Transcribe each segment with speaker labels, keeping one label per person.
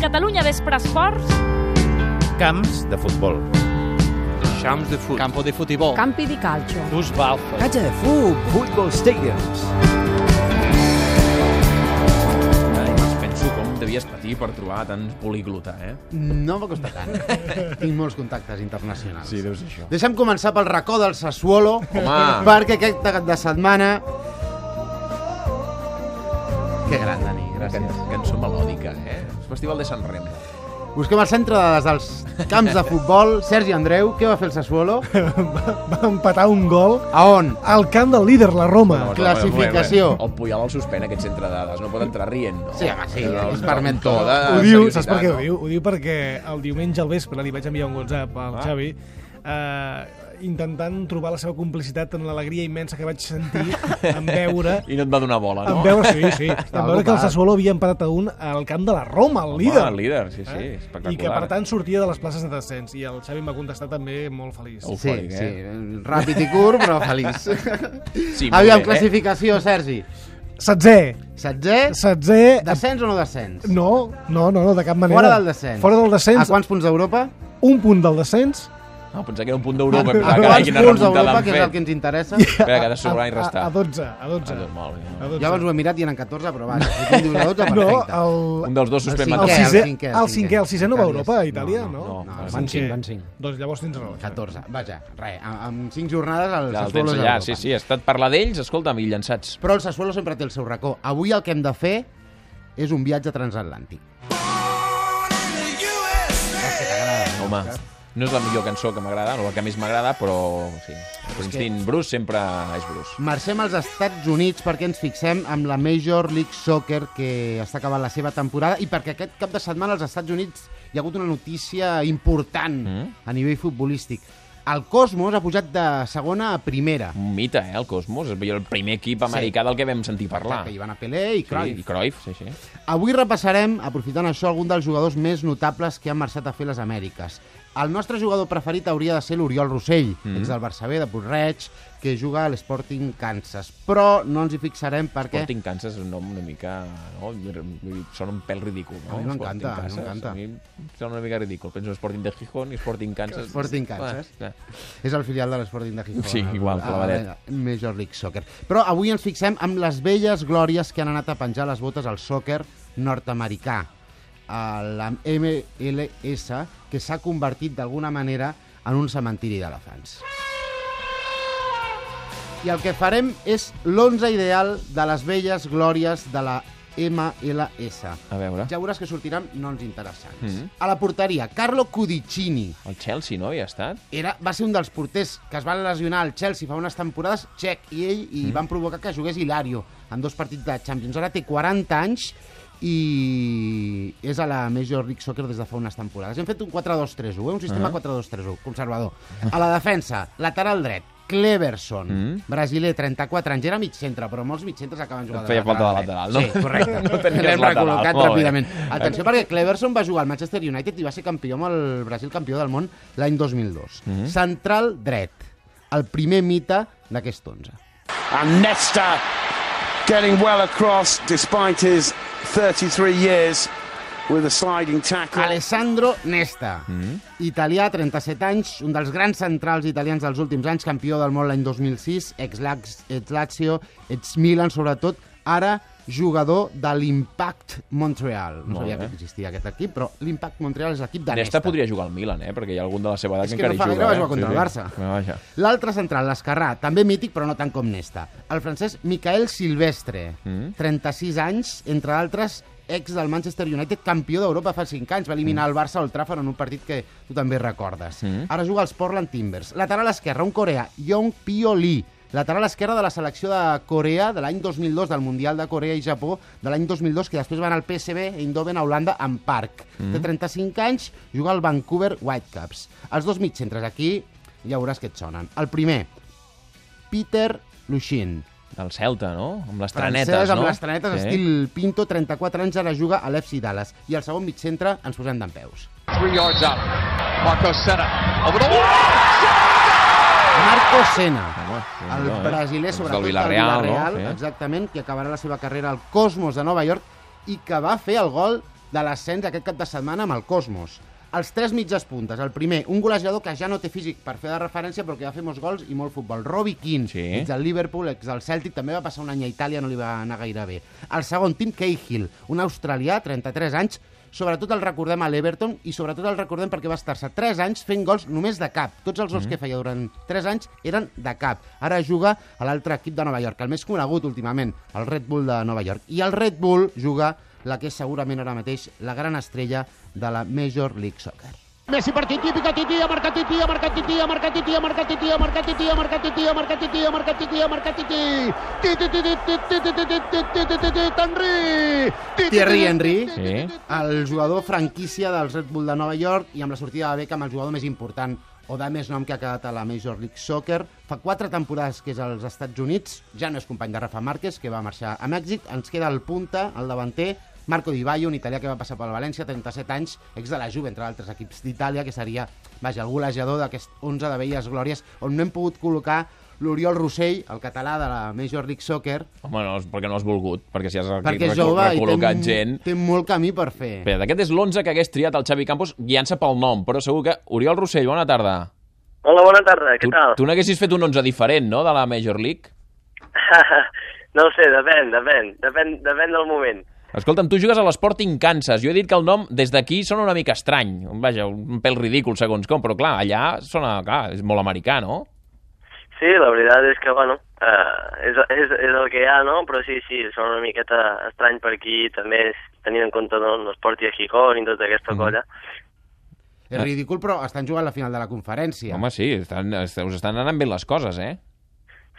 Speaker 1: Catalunya Vespre Esports.
Speaker 2: Camps de futbol.
Speaker 3: Champs de fut.
Speaker 4: Campo de futibol.
Speaker 5: Campi di calcio.
Speaker 4: Fus balfa.
Speaker 6: Cancha de fútbol, football stadiums.
Speaker 3: eh? Penso com devies patir per trobar tant poliglota, eh?
Speaker 7: No m'ha costat tant. Tinc molts contactes internacionals.
Speaker 3: Sí, deu ser això.
Speaker 7: Deixem començar pel racó del Sassuolo,
Speaker 3: Home.
Speaker 7: perquè aquest cap de setmana... Que gran, Dani,
Speaker 3: Can
Speaker 7: gràcies.
Speaker 3: cançó melòdica, eh? El Festival de Sant Remo.
Speaker 7: Busquem el centre de les dels camps de futbol. Sergi Andreu, què va fer el Sassuolo?
Speaker 8: va empatar un gol
Speaker 7: A on?
Speaker 8: al camp del líder, la Roma.
Speaker 3: No, no, no,
Speaker 7: Classificació.
Speaker 3: no, no. eh? El Puyol el suspèn, aquest centre de dades. No pot entrar rient, no?
Speaker 7: Sí, home, sí,
Speaker 3: No,
Speaker 7: es permet
Speaker 3: no,
Speaker 7: tot.
Speaker 3: de
Speaker 8: eh? ho diu,
Speaker 3: seriositat,
Speaker 8: saps per què ho
Speaker 3: no?
Speaker 8: diu? Ho diu perquè el diumenge al vespre li vaig enviar un WhatsApp al
Speaker 3: Ah.
Speaker 8: Xavi eh, intentant trobar la seva complicitat en l'alegria immensa que vaig sentir en veure
Speaker 3: I no et va donar bola, no?
Speaker 8: en veure, sí, sí, en veure que el
Speaker 7: preocupat.
Speaker 8: Sassuolo havia empatat a un al camp de la Roma, el
Speaker 3: Home,
Speaker 8: líder.
Speaker 3: El líder, sí, sí.
Speaker 8: Eh?
Speaker 3: Espectacular.
Speaker 8: I que, per tant, sortia de les places de descens. I el Xavi em va contestar també molt feliç.
Speaker 3: Uf.
Speaker 7: Sí,
Speaker 3: Eufòric,
Speaker 7: sí,
Speaker 3: eh?
Speaker 7: ràpid i curt, però feliç.
Speaker 3: Sí, molt bé,
Speaker 7: Aviam,
Speaker 3: eh?
Speaker 7: classificació, Sergi.
Speaker 8: Setzè,
Speaker 7: Setzè,
Speaker 8: setzè...
Speaker 7: descens o no descens?
Speaker 8: No, no, no, no, de cap manera.
Speaker 7: Fora del descens.
Speaker 8: Fora del
Speaker 7: A
Speaker 8: descens,
Speaker 7: quants punts d'Europa?
Speaker 8: un punt del descens.
Speaker 3: Eh? No, pensava que era un punt d'Europa.
Speaker 7: A
Speaker 3: Pensava, carai,
Speaker 7: quants
Speaker 3: quina
Speaker 7: punts
Speaker 3: remuntada
Speaker 7: d'Europa,
Speaker 3: han
Speaker 7: que és el que
Speaker 3: fet.
Speaker 7: ens interessa?
Speaker 3: Espera, que ha de sobrar i
Speaker 8: A,
Speaker 3: restar.
Speaker 8: a 12, a 12.
Speaker 3: Ah, doncs, molt bé.
Speaker 8: A 12.
Speaker 7: Jo abans ho he mirat i eren 14, però vaja, si tu em dius de 12,
Speaker 8: no,
Speaker 7: perfecte.
Speaker 8: el,
Speaker 3: Un dels dos suspèn
Speaker 7: El
Speaker 8: el,
Speaker 7: Què,
Speaker 3: Mateu.
Speaker 8: sisè, el,
Speaker 7: cinquè,
Speaker 8: cinquè,
Speaker 7: el
Speaker 8: el,
Speaker 7: cinquè.
Speaker 8: sisè no va a Europa, a Itàlia,
Speaker 7: No,
Speaker 8: no?
Speaker 3: no, no,
Speaker 8: el
Speaker 6: van
Speaker 8: cinquè.
Speaker 6: cinc, van cinc.
Speaker 8: Doncs llavors tens raó.
Speaker 7: 14. Vaja, res, amb, amb 5 jornades
Speaker 3: Ja
Speaker 7: el
Speaker 3: el
Speaker 7: Sassuolo
Speaker 3: tens
Speaker 7: és
Speaker 3: allà,
Speaker 7: Europa.
Speaker 3: sí, sí. Has estat parlar d'ells, escolta'm, i llançats.
Speaker 7: Però el Sassuolo sempre té el seu racó. Avui el que hem de fer és un viatge transatlàntic.
Speaker 3: Home, no és la millor cançó que m'agrada, no la que més m'agrada, però sí. Springsteen, Bruce sempre és Bruce.
Speaker 7: Marxem als Estats Units perquè ens fixem amb la Major League Soccer que està acabant la seva temporada i perquè aquest cap de setmana als Estats Units hi ha hagut una notícia important
Speaker 3: Mm.
Speaker 7: a nivell futbolístic. El Cosmos ha pujat de segona a primera.
Speaker 3: Un mite, eh, el Cosmos. És el primer equip americà del que vam sentir parlar.
Speaker 7: Que hi van a Pelé i Cruyff.
Speaker 3: Sí, I Cruyff, sí, sí.
Speaker 7: Avui repassarem, aprofitant això, algun dels jugadors més notables que han marxat a fer les Amèriques. El nostre jugador preferit hauria de ser l'Oriol Rossell,
Speaker 3: Mm-hmm.
Speaker 7: mm -hmm. ex del Barça B, de Porreig, que juga a l'Sporting Kansas. Però no ens hi fixarem perquè...
Speaker 3: Sporting Kansas és un nom una mica... No? Vull dir, Sona un pèl ridícul. No?
Speaker 7: A mi m'encanta,
Speaker 3: Sporting
Speaker 7: a mi
Speaker 3: Kansas.
Speaker 7: m'encanta.
Speaker 3: A mi em sona una mica ridícul. Penso en Sporting de Gijón i Sporting Kansas.
Speaker 7: Sporting Kansas.
Speaker 3: Ah,
Speaker 7: És el filial de l'Sporting de Gijón.
Speaker 3: Sí,
Speaker 7: el-
Speaker 3: igual,
Speaker 7: el-
Speaker 3: clavadet.
Speaker 7: el Major League Soccer. Però avui ens fixem amb les velles glòries que han anat a penjar les botes al soccer nord-amerià. A La MLS, que s'ha convertit d'alguna manera en un cementiri d'elefants. I el que farem és l'11 ideal de les velles glòries de la MLS.
Speaker 3: a veure.
Speaker 7: Ja veuràs que sortiran noms interessants.
Speaker 3: Mhm.
Speaker 7: A la porteria, Carlo Cudicini,
Speaker 3: El Chelsea, no? Hi ha estat?
Speaker 7: era, va ser un dels porters que es van lesionar al Chelsea fa unes temporades, Txec i ell, i mm. van provocar que jugués Hilario en dos partits de Champions. Ara té 40 anys i és a la Major League Soccer des de fa unes temporades. Hem fet un 4-2-3-1, eh? un sistema uh -huh. 4-2-3-1, conservador. A la defensa, lateral dret, Cleverson, mm. brasiler, 34 anys, era mig centre, però molts mig centres acaben jugant
Speaker 3: Et feia falta de lateral, no?
Speaker 7: dret. eh? Sí, correcte.
Speaker 3: No tenies
Speaker 7: L'hem
Speaker 3: lateral,
Speaker 7: recol·locat
Speaker 3: molt bé.
Speaker 7: ràpidament. Atenció, perquè Cleverson va jugar al Manchester United i va ser campió amb el Brasil campió del món l'any 2002.
Speaker 3: Mhm.
Speaker 7: Mm -hmm. Central dret, el primer mite d'aquest 11.
Speaker 9: And Nesta getting well across despite his 33 years with a sliding tackle.
Speaker 7: Alessandro Nesta, mm
Speaker 3: Mhm.
Speaker 7: -hmm. italià, 37 anys, un dels grans centrals italians dels últims anys, campió del món l'any 2006, ex-Lax- ex-Lazio, ex-Milan sobretot, ara jugador de l'Impact Montreal. No
Speaker 3: Molt
Speaker 7: sabia
Speaker 3: bé.
Speaker 7: que existia aquest equip, però l'Impact Montreal és l'equip de Nesta.
Speaker 3: Nesta podria jugar al Milan, eh? Perquè hi ha algun de la seva edat
Speaker 7: És
Speaker 3: que
Speaker 7: que no
Speaker 3: encara hi
Speaker 7: fa
Speaker 3: juga.
Speaker 7: gaire va
Speaker 3: eh?
Speaker 7: jugar contra
Speaker 3: Sí,
Speaker 7: el
Speaker 3: sí.
Speaker 7: Barça.
Speaker 3: Bueno, vaja.
Speaker 7: L'altre central, l'Esquerrà, també mític, però no tant com Nesta. El francès Michael Silvestre,
Speaker 3: Mm.
Speaker 7: 36 anys, entre altres ex del Manchester United, campió d'Europa fa 5 anys. Va eliminar el Barça al Trafford en un partit que tu també recordes.
Speaker 3: Mm.
Speaker 7: Ara juga als Portland Timbers. Lateral esquerre, un coreà, Yong Pyo Lee. Lateral esquerre de la selecció de Corea de l'any 2002, del Mundial de Corea i Japó de l'any 2002, que després van al PSV Eindhoven a Holanda en Parc. Mm. Té 35 anys, juga al Vancouver Whitecaps. Els dos mig centres aquí ja veuràs que et sonen. El primer, Peter Lushin.
Speaker 3: Del Celta, no? Amb les tranetes,
Speaker 7: Francès, amb
Speaker 3: no?
Speaker 7: les tranetes, sí. estil Pinto, 34 anys, ara juga a l'FC Dallas. I al segon mig centre ens posem d'en peus.
Speaker 4: Three yards out. Marco Sena. Over the wall.
Speaker 7: Marco Sena,
Speaker 3: Home,
Speaker 7: el
Speaker 3: Déu-n'hi-do, eh?
Speaker 7: brasiler,
Speaker 3: Doncs
Speaker 7: sobretot
Speaker 3: Del Villarreal, no?
Speaker 7: Villarreal,
Speaker 3: Sí.
Speaker 7: exactament, que acabarà la seva carrera al Cosmos de Nova York i que va fer el gol de l'ascens aquest cap de setmana amb el Cosmos. Els tres mitges puntes. El primer, un golejador que ja no té físic per fer de referència, però que va fer molts gols i molt futbol. Robbie Keane,
Speaker 3: Sí.
Speaker 7: ex del Liverpool, ex del Celtic, també va passar un any a Itàlia, no li va anar gaire bé. El segon, Tim Cahill, un australià, 33 anys, sobretot el recordem a l'Everton i sobretot el recordem perquè va estar-se 3 anys fent gols només de cap. Tots els gols que feia durant 3 anys eren de cap. Ara juga a l'altre equip de Nova York, el més conegut últimament, el Red Bull de Nova York. I el Red Bull juga la que és segurament ara mateix la gran estrella de la Major League Soccer. Messi per Titi, pica Titi, ha marcat Titi, ha marcat Titi, ha marcat Titi, ha marcat Titi, ha marcat Titi, ha marcat Titi, ha marcat Titi, ha marcat Titi, ha marcat Titi. Titi, Titi, Titi, Titi, Titi, Titi, Titi, Henry. Thierry Henry,
Speaker 3: Sí.
Speaker 7: el jugador franquícia dels Red Bull de Nova York i amb la sortida de Beckham el jugador més important o de més nom que ha quedat a la Major League Soccer. Fa quatre temporades que és als Estats Units, ja no és company de Rafa Márquez, que va marxar a Mèxic. Ens queda el punta, el davanter, Marco Di Baio, un italià que va passar pel València, 37 anys, ex de la Juve, entre altres equips d'Itàlia, que seria, vaja, el golejador d'aquest 11 de velles glòries, on no hem pogut col·locar l'Oriol Rossell, el català de la Major League Soccer,
Speaker 3: Home, no, és perquè no has volgut, perquè si has
Speaker 7: perquè és
Speaker 3: reco-
Speaker 7: jove i té,
Speaker 3: recol·locat gent...
Speaker 7: té molt camí per fer.
Speaker 3: Espera, aquest és l'11 que hagués triat el Xavi Campos guiant-se pel nom, però segur que... Oriol Rossell, bona tarda.
Speaker 1: Hola, bona tarda, què
Speaker 3: Tu,
Speaker 1: tal?
Speaker 3: tu n'haguessis fet un 11 diferent, no?, de la Major League.
Speaker 1: no ho sé, depèn, depèn, depèn, depèn del moment.
Speaker 3: Escolta'm, tu jugues a l'Sporting Kansas. Jo he dit que el nom des d'aquí sona una mica estrany. Vaja, un pèl ridícul segons com, però clar, allà sona... Clar, és molt americà, no?
Speaker 1: Sí, la veritat és que, bueno, uh, és, és, és el que hi ha, no? Però sí, sí, són una miqueta estrany per aquí, també és, tenint en compte doncs, l'esport i a Gijón i tota
Speaker 3: Mhm.
Speaker 1: aquesta colla.
Speaker 7: És ridícul, però estan jugant la final de la conferència.
Speaker 3: Home, sí, estan, est- us estan anant bé les coses, eh?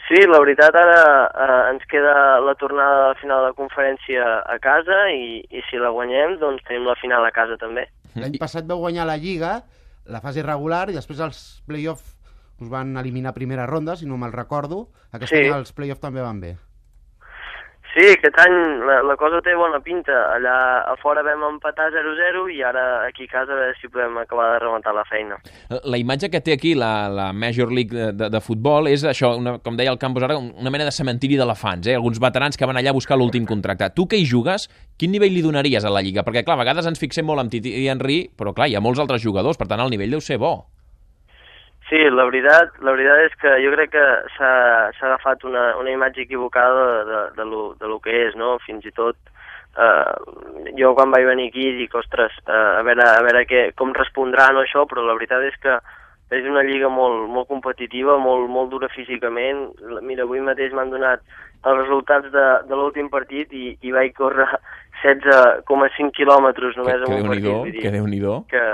Speaker 1: Sí, la veritat, ara uh, ens queda la tornada de la final de la conferència a casa i, i si la guanyem, doncs tenim la final a casa també.
Speaker 7: L'any passat vau guanyar la Lliga, la fase regular, i després els play-off us van eliminar a primera ronda, si no me'l recordo. Aquest
Speaker 1: Sí.
Speaker 7: any els play-off també van bé.
Speaker 1: Sí, aquest any la, la cosa té bona pinta. Allà a fora vam empatar 0-0 i ara aquí a casa a veure si podem acabar de rematar la feina.
Speaker 3: La imatge que té aquí la, la Major League de, de, de futbol és això, una, com deia el Campos ara, un- una mena de cementiri d'elefants, eh? alguns veterans que van allà a buscar l'últim contracte. Tu que hi jugues, quin nivell li donaries a la Lliga? Perquè, clar, a vegades ens fixem molt en Titi i Henry, però, clar, hi ha molts altres jugadors, per tant, el nivell deu ser bo.
Speaker 1: Sí, la veritat, la veritat és que jo crec que s'ha s'ha agafat una, una imatge equivocada de, de, de, lo, de lo que és, no? Fins i tot eh, jo quan vaig venir aquí dic, ostres, eh, a veure, a veure què, com respondran o això, però la veritat és que és una lliga molt, molt competitiva, molt, molt dura físicament. Mira, avui mateix m'han donat els resultats de, de l'últim partit i, i vaig córrer 16,5 quilòmetres només
Speaker 3: que
Speaker 1: en un partit.
Speaker 3: Déu-n'hi-do,
Speaker 1: vull dir
Speaker 3: que Déu-n'hi-do.
Speaker 1: que,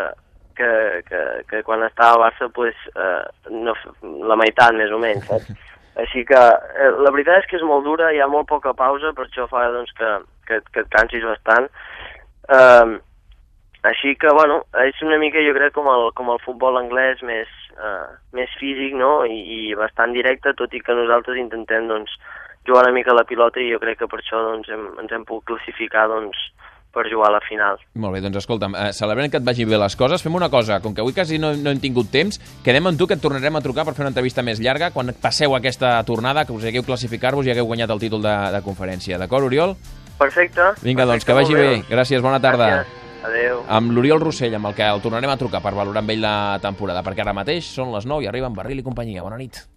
Speaker 1: que, que, que quan estava a Barça, pues, eh, no, la meitat més o menys, saps? Així que eh, la veritat és que és molt dura, hi ha molt poca pausa, per això fa doncs, que, que, que et cansis bastant. Eh, així que, bueno, és una mica, jo crec, com el, com el futbol anglès més, eh, més físic, no?, I, i bastant directe, tot i que nosaltres intentem, doncs, jugar una mica a la pilota i jo crec que per això doncs, hem, ens hem pogut classificar doncs, per jugar a la final.
Speaker 3: Molt bé, doncs escolta'm, eh, celebrem que et vagin bé les coses. Fem una cosa, com que avui quasi no, no hem tingut temps, quedem amb tu que et tornarem a trucar per fer una entrevista més llarga quan passeu aquesta tornada, que us hagueu classificar-vos i hagueu guanyat el títol de, de conferència. D'acord, Oriol?
Speaker 1: Perfecte.
Speaker 3: Vinga, doncs, que vagi
Speaker 1: Perfecte,
Speaker 3: bé.
Speaker 1: molt
Speaker 3: Gràcies, bona tarda.
Speaker 1: Gràcies. Adéu.
Speaker 3: Amb l'Oriol Rossell, amb el que el tornarem a trucar per valorar amb ell la temporada, perquè ara mateix són les 9 i arriben Barril i companyia. Bona nit.